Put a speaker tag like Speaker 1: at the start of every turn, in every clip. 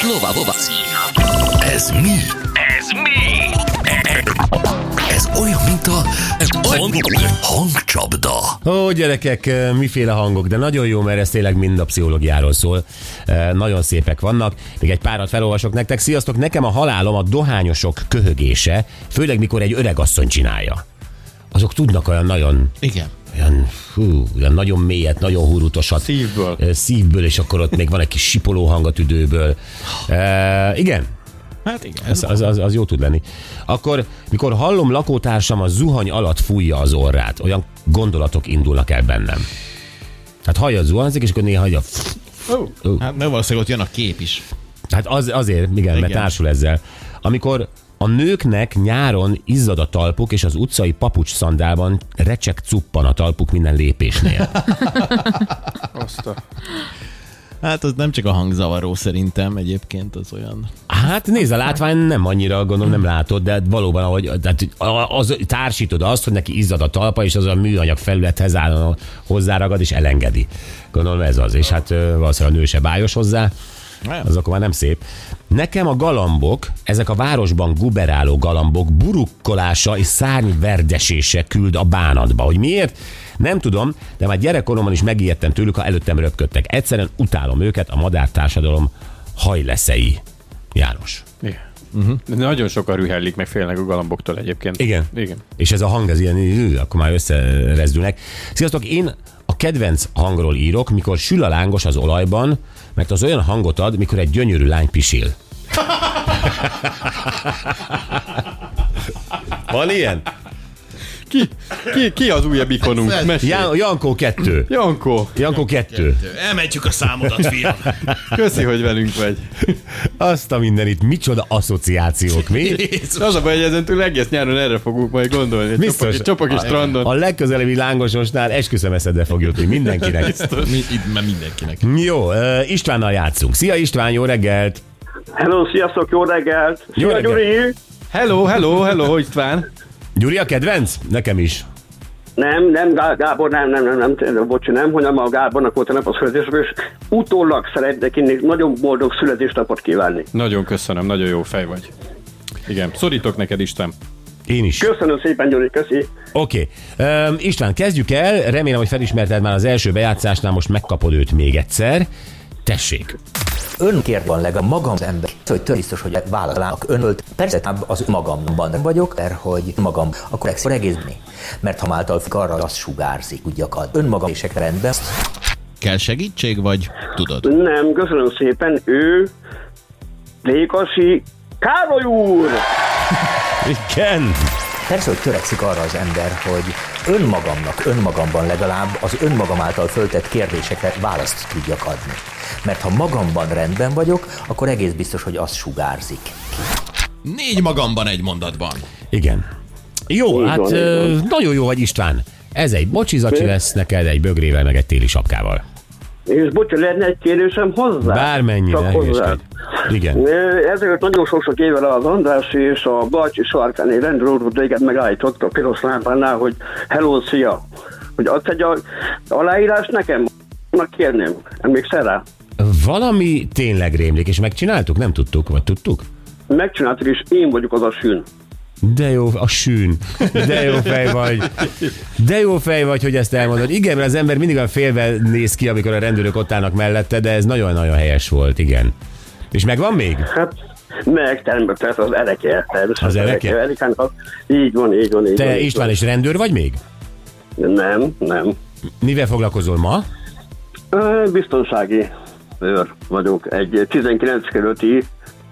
Speaker 1: Słowa, wowa.
Speaker 2: Ez mi?
Speaker 3: Ez mi?
Speaker 2: Ez olyan, mint a hangcsapda.
Speaker 4: Ó, gyerekek, miféle hangok, de nagyon jó, mert ez tényleg mind a pszichológiáról szól. E, Nagyon szépek vannak. Még egy párat felolvasok nektek. Sziasztok, nekem a halálom a dohányosok köhögése, főleg mikor egy öreg asszony csinálja. Azok tudnak olyan nagyon,
Speaker 5: Igen.
Speaker 4: olyan, hú, olyan nagyon mélyet, nagyon hurutosat.
Speaker 5: Szívből.
Speaker 4: E, Szívből, és akkor ott még van egy kis sipoló hang a tüdőből. E, igen,
Speaker 5: Hát igen.
Speaker 4: ez, az, az, az jó tud lenni. Akkor, mikor hallom lakótársam a zuhany alatt fújja az orrát, olyan gondolatok indulnak el bennem. Hát hallja, zuhanzik, és akkor néha hagyja.
Speaker 5: Oh. Hát mert valószínűleg ott jön a kép is.
Speaker 4: Hát az, azért, igen, igen, mert
Speaker 5: Igen.
Speaker 4: társul ezzel. Amikor a nőknek nyáron izzad a talpuk, és az utcai papucs szandálban recsek cuppan a talpuk minden lépésnél.
Speaker 6: Azt a...
Speaker 5: Hát az nem csak a hangzavaró szerintem egyébként, az olyan.
Speaker 4: Hát nézd, a látvány nem annyira, gondolom nem látod, de valóban, ahogy tehát az, társítod azt, hogy neki izzad a talpa, és az a műanyag felülethez állandóan hozzáragad, és elengedi. Gondolom ez az, és hát ö, valószínűleg a nő se bájos hozzá,
Speaker 5: Nem.
Speaker 4: az akkor már nem szép. Nekem a galambok, ezek a városban guberáló galambok burukkolása és szárnyverdesése küld a bánatba. Hogy miért? Nem tudom, de már gyerekkoromban is megijedtem tőlük, ha előttem röpködtek. Egyszerűen utálom őket, a madártársadalom hajleszei. János.
Speaker 6: Igen. De Nagyon sokan rühellik, meg félnek a galamboktól egyébként.
Speaker 4: Mhm. Igen.
Speaker 6: Igen.
Speaker 4: És ez a hang, ez ilyen, ű, akkor már összerezdülnek. Sziasztok, én a kedvenc hangról írok, mikor sül a lángos az olajban, mert az olyan hangot ad, mikor egy gyönyörű lány pisil. Van ilyen?
Speaker 6: Ki, ki, ki az újabb ikonunk? Mesélj.
Speaker 4: Ján- Jankó kettő.
Speaker 6: Jankó,
Speaker 4: Jankó kettő.
Speaker 5: Elmentjük a számodat, fiam.
Speaker 6: köszi, hogy velünk vagy.
Speaker 4: Azt a mindenit, micsoda asszociációk, mi?
Speaker 6: Az a baj, hogy ezen túl egész nyáron erre fogunk majd gondolni.
Speaker 4: Biztos.
Speaker 6: Csopok, csopok és strandon.
Speaker 4: A legközelebbi lángososnál esküszöm eszedbe fog jutni mindenkinek.
Speaker 5: Hát, Mi, itt már mindenkinek.
Speaker 4: Jó, ö, Istvánnal játszunk. Szia István, jó reggelt!
Speaker 7: Hello, sziasztok, jó reggelt!
Speaker 4: Jó
Speaker 7: Szia,
Speaker 4: reggelt.
Speaker 7: Gyuri!
Speaker 6: Hello, hello, hello, István.
Speaker 4: Gyuri a kedvenc? Nekem is.
Speaker 7: Nem, nem, Gá- Gábor, nem, nem, nem, nem, bocs, nem, hanem a Gábornak volt a nap a születésnapja, és utólag szeretnék inni nagyon boldog születésnapot kívánni.
Speaker 6: Nagyon köszönöm, nagyon jó fej vagy. Igen, szorítok neked, Isten.
Speaker 4: Én is.
Speaker 7: Köszönöm szépen, Gyuri, köszi!
Speaker 4: Oké. Okay. István, kezdjük el. Remélem, hogy felismerted már az első bejátszásnál, most megkapod őt még egyszer. Tessék.
Speaker 8: Önkért van leg a magam az ember, hogy tör biztos, hogy vállalálnak önölt. Persze ám az magamban vagyok, mert hogy magam, akkor egész egészben. Mert ha által függ, arra az sugárzik, ugye akad. Önmagam és rendben.
Speaker 5: Kell segítség, vagy tudod?
Speaker 7: Nem, köszönöm szépen, ő Lékasi Károly úr!
Speaker 4: Igen.
Speaker 8: Persze, hogy törekszik arra az ember, hogy önmagamnak, önmagamban legalább az önmagam által föltett kérdésekre választ tudjak adni. Mert ha magamban rendben vagyok, akkor egész biztos, hogy az sugárzik.
Speaker 5: Négy magamban egy mondatban.
Speaker 4: Igen. Jó,
Speaker 7: Így
Speaker 4: hát
Speaker 7: van, így
Speaker 4: ö,
Speaker 7: van.
Speaker 4: nagyon jó vagy István. Ez egy bocsizacsi lesz neked, egy bögrével, meg egy téli sapkával.
Speaker 7: És bocs, lenne egy kérdésem hozzá?
Speaker 4: Bármennyire.
Speaker 7: Csak hozzá.
Speaker 4: hülyeskedj. Igen.
Speaker 7: Ö, Ezelőtt nagyon sok-sok évvel az András és a Balcsi sarkáné rendről téged megállított a piros lámpánál, hogy hello, szia! Hogy adsz egy a- aláírás nekem? Na kérném, emlékszel rá?
Speaker 4: Valami tényleg rémlik, és megcsináltuk? Nem tudtuk, vagy tudtuk?
Speaker 7: Megcsináltuk, és én vagyok az a sűn.
Speaker 4: De jó, a sűn. De jó fej vagy. De jó fej vagy, hogy ezt elmondod. Igen, mert az ember mindig olyan félve néz ki, amikor a rendőrök ott állnak mellette, de ez nagyon-nagyon helyes volt, igen. És megvan még?
Speaker 7: Hát, meg természetesen az ereke. természetesen
Speaker 4: Az ereke?
Speaker 7: Erikának az- így van, így van, így van.
Speaker 4: Te
Speaker 7: így
Speaker 4: István is rendőr vagy még?
Speaker 7: van. Nem, nem.
Speaker 4: Mivel foglalkozol ma?
Speaker 7: Ö, Biztonsági őr vagyok. Egy 19 kerületi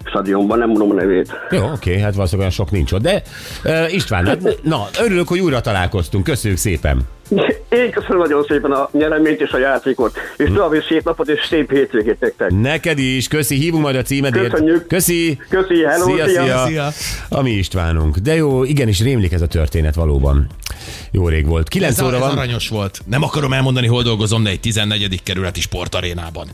Speaker 7: stadionban, nem mondom a nevét.
Speaker 4: Jó, oké, hát valószínűleg olyan sok nincs ott, de uh, István, hát, na, örülök, hogy újra találkoztunk, köszönjük szépen.
Speaker 7: Én köszönöm nagyon szépen a nyereményt és a játékot, és további szép napot és szép hétvégét nektek.
Speaker 4: Neked is, köszi, hívunk majd a címedért.
Speaker 7: Köszönjük.
Speaker 4: Köszi.
Speaker 7: Köszi, hello,
Speaker 4: szia,
Speaker 7: szia.
Speaker 4: szia.
Speaker 5: Szia.
Speaker 4: A mi Istvánunk. De jó, igenis rémlik ez a történet valóban. Jó rég volt. 9
Speaker 5: Ez,
Speaker 4: óra
Speaker 5: ez
Speaker 4: van.
Speaker 5: aranyos volt. Nem akarom elmondani, hol dolgozom, de egy 14. kerületi sportarénában.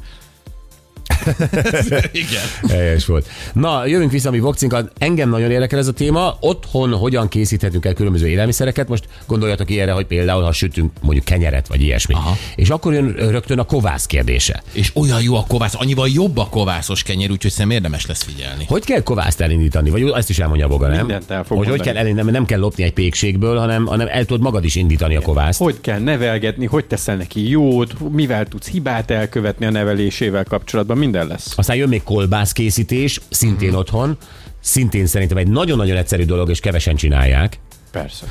Speaker 5: Igen.
Speaker 4: Helyes volt. Na, jövünk vissza a mi vokcinkat. Engem nagyon érdekel ez a téma. Otthon hogyan készíthetünk el különböző élelmiszereket? Most gondoljatok ilyenre, hogy például, ha sütünk mondjuk kenyeret, vagy ilyesmi. Aha. És akkor jön rögtön a kovász kérdése.
Speaker 5: És olyan jó a kovász, annyival jobb a kovászos kenyér, úgyhogy szerintem érdemes lesz figyelni.
Speaker 4: Hogy kell kovászt elindítani? Vagy ezt is elmondja a boga, nem?
Speaker 6: Mindent el
Speaker 4: hogy,
Speaker 6: fog
Speaker 4: hogy
Speaker 6: mondani.
Speaker 4: kell elindítani, mert nem kell lopni egy pékségből, hanem, hanem el tudod magad is indítani a kovászt.
Speaker 6: Hogy kell nevelgetni, hogy teszel neki jót, mivel tudsz hibát elkövetni a nevelésével kapcsolatban, minden lesz.
Speaker 4: Aztán jön még kolbászkészítés, szintén
Speaker 5: Mhm.
Speaker 4: otthon. Szintén szerintem egy nagyon-nagyon egyszerű dolog, és kevesen csinálják.
Speaker 6: Persze.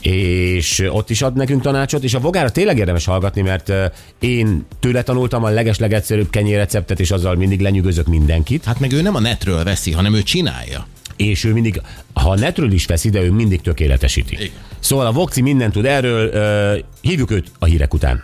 Speaker 4: és ott is ad nekünk tanácsot, és a vogára tényleg érdemes hallgatni, mert ö, én tőle tanultam a leges-legegyszerűbb kenyérreceptet, és azzal mindig lenyűgözök mindenkit,
Speaker 5: Hát meg ő nem a netről veszi, hanem ő csinálja.
Speaker 4: és ő mindig, ha netről is vesz ide, ő mindig tökéletesíti.
Speaker 5: Igen.
Speaker 4: Szóval a Vokci mindent tud erről, ö, hívjuk őt a hírek után.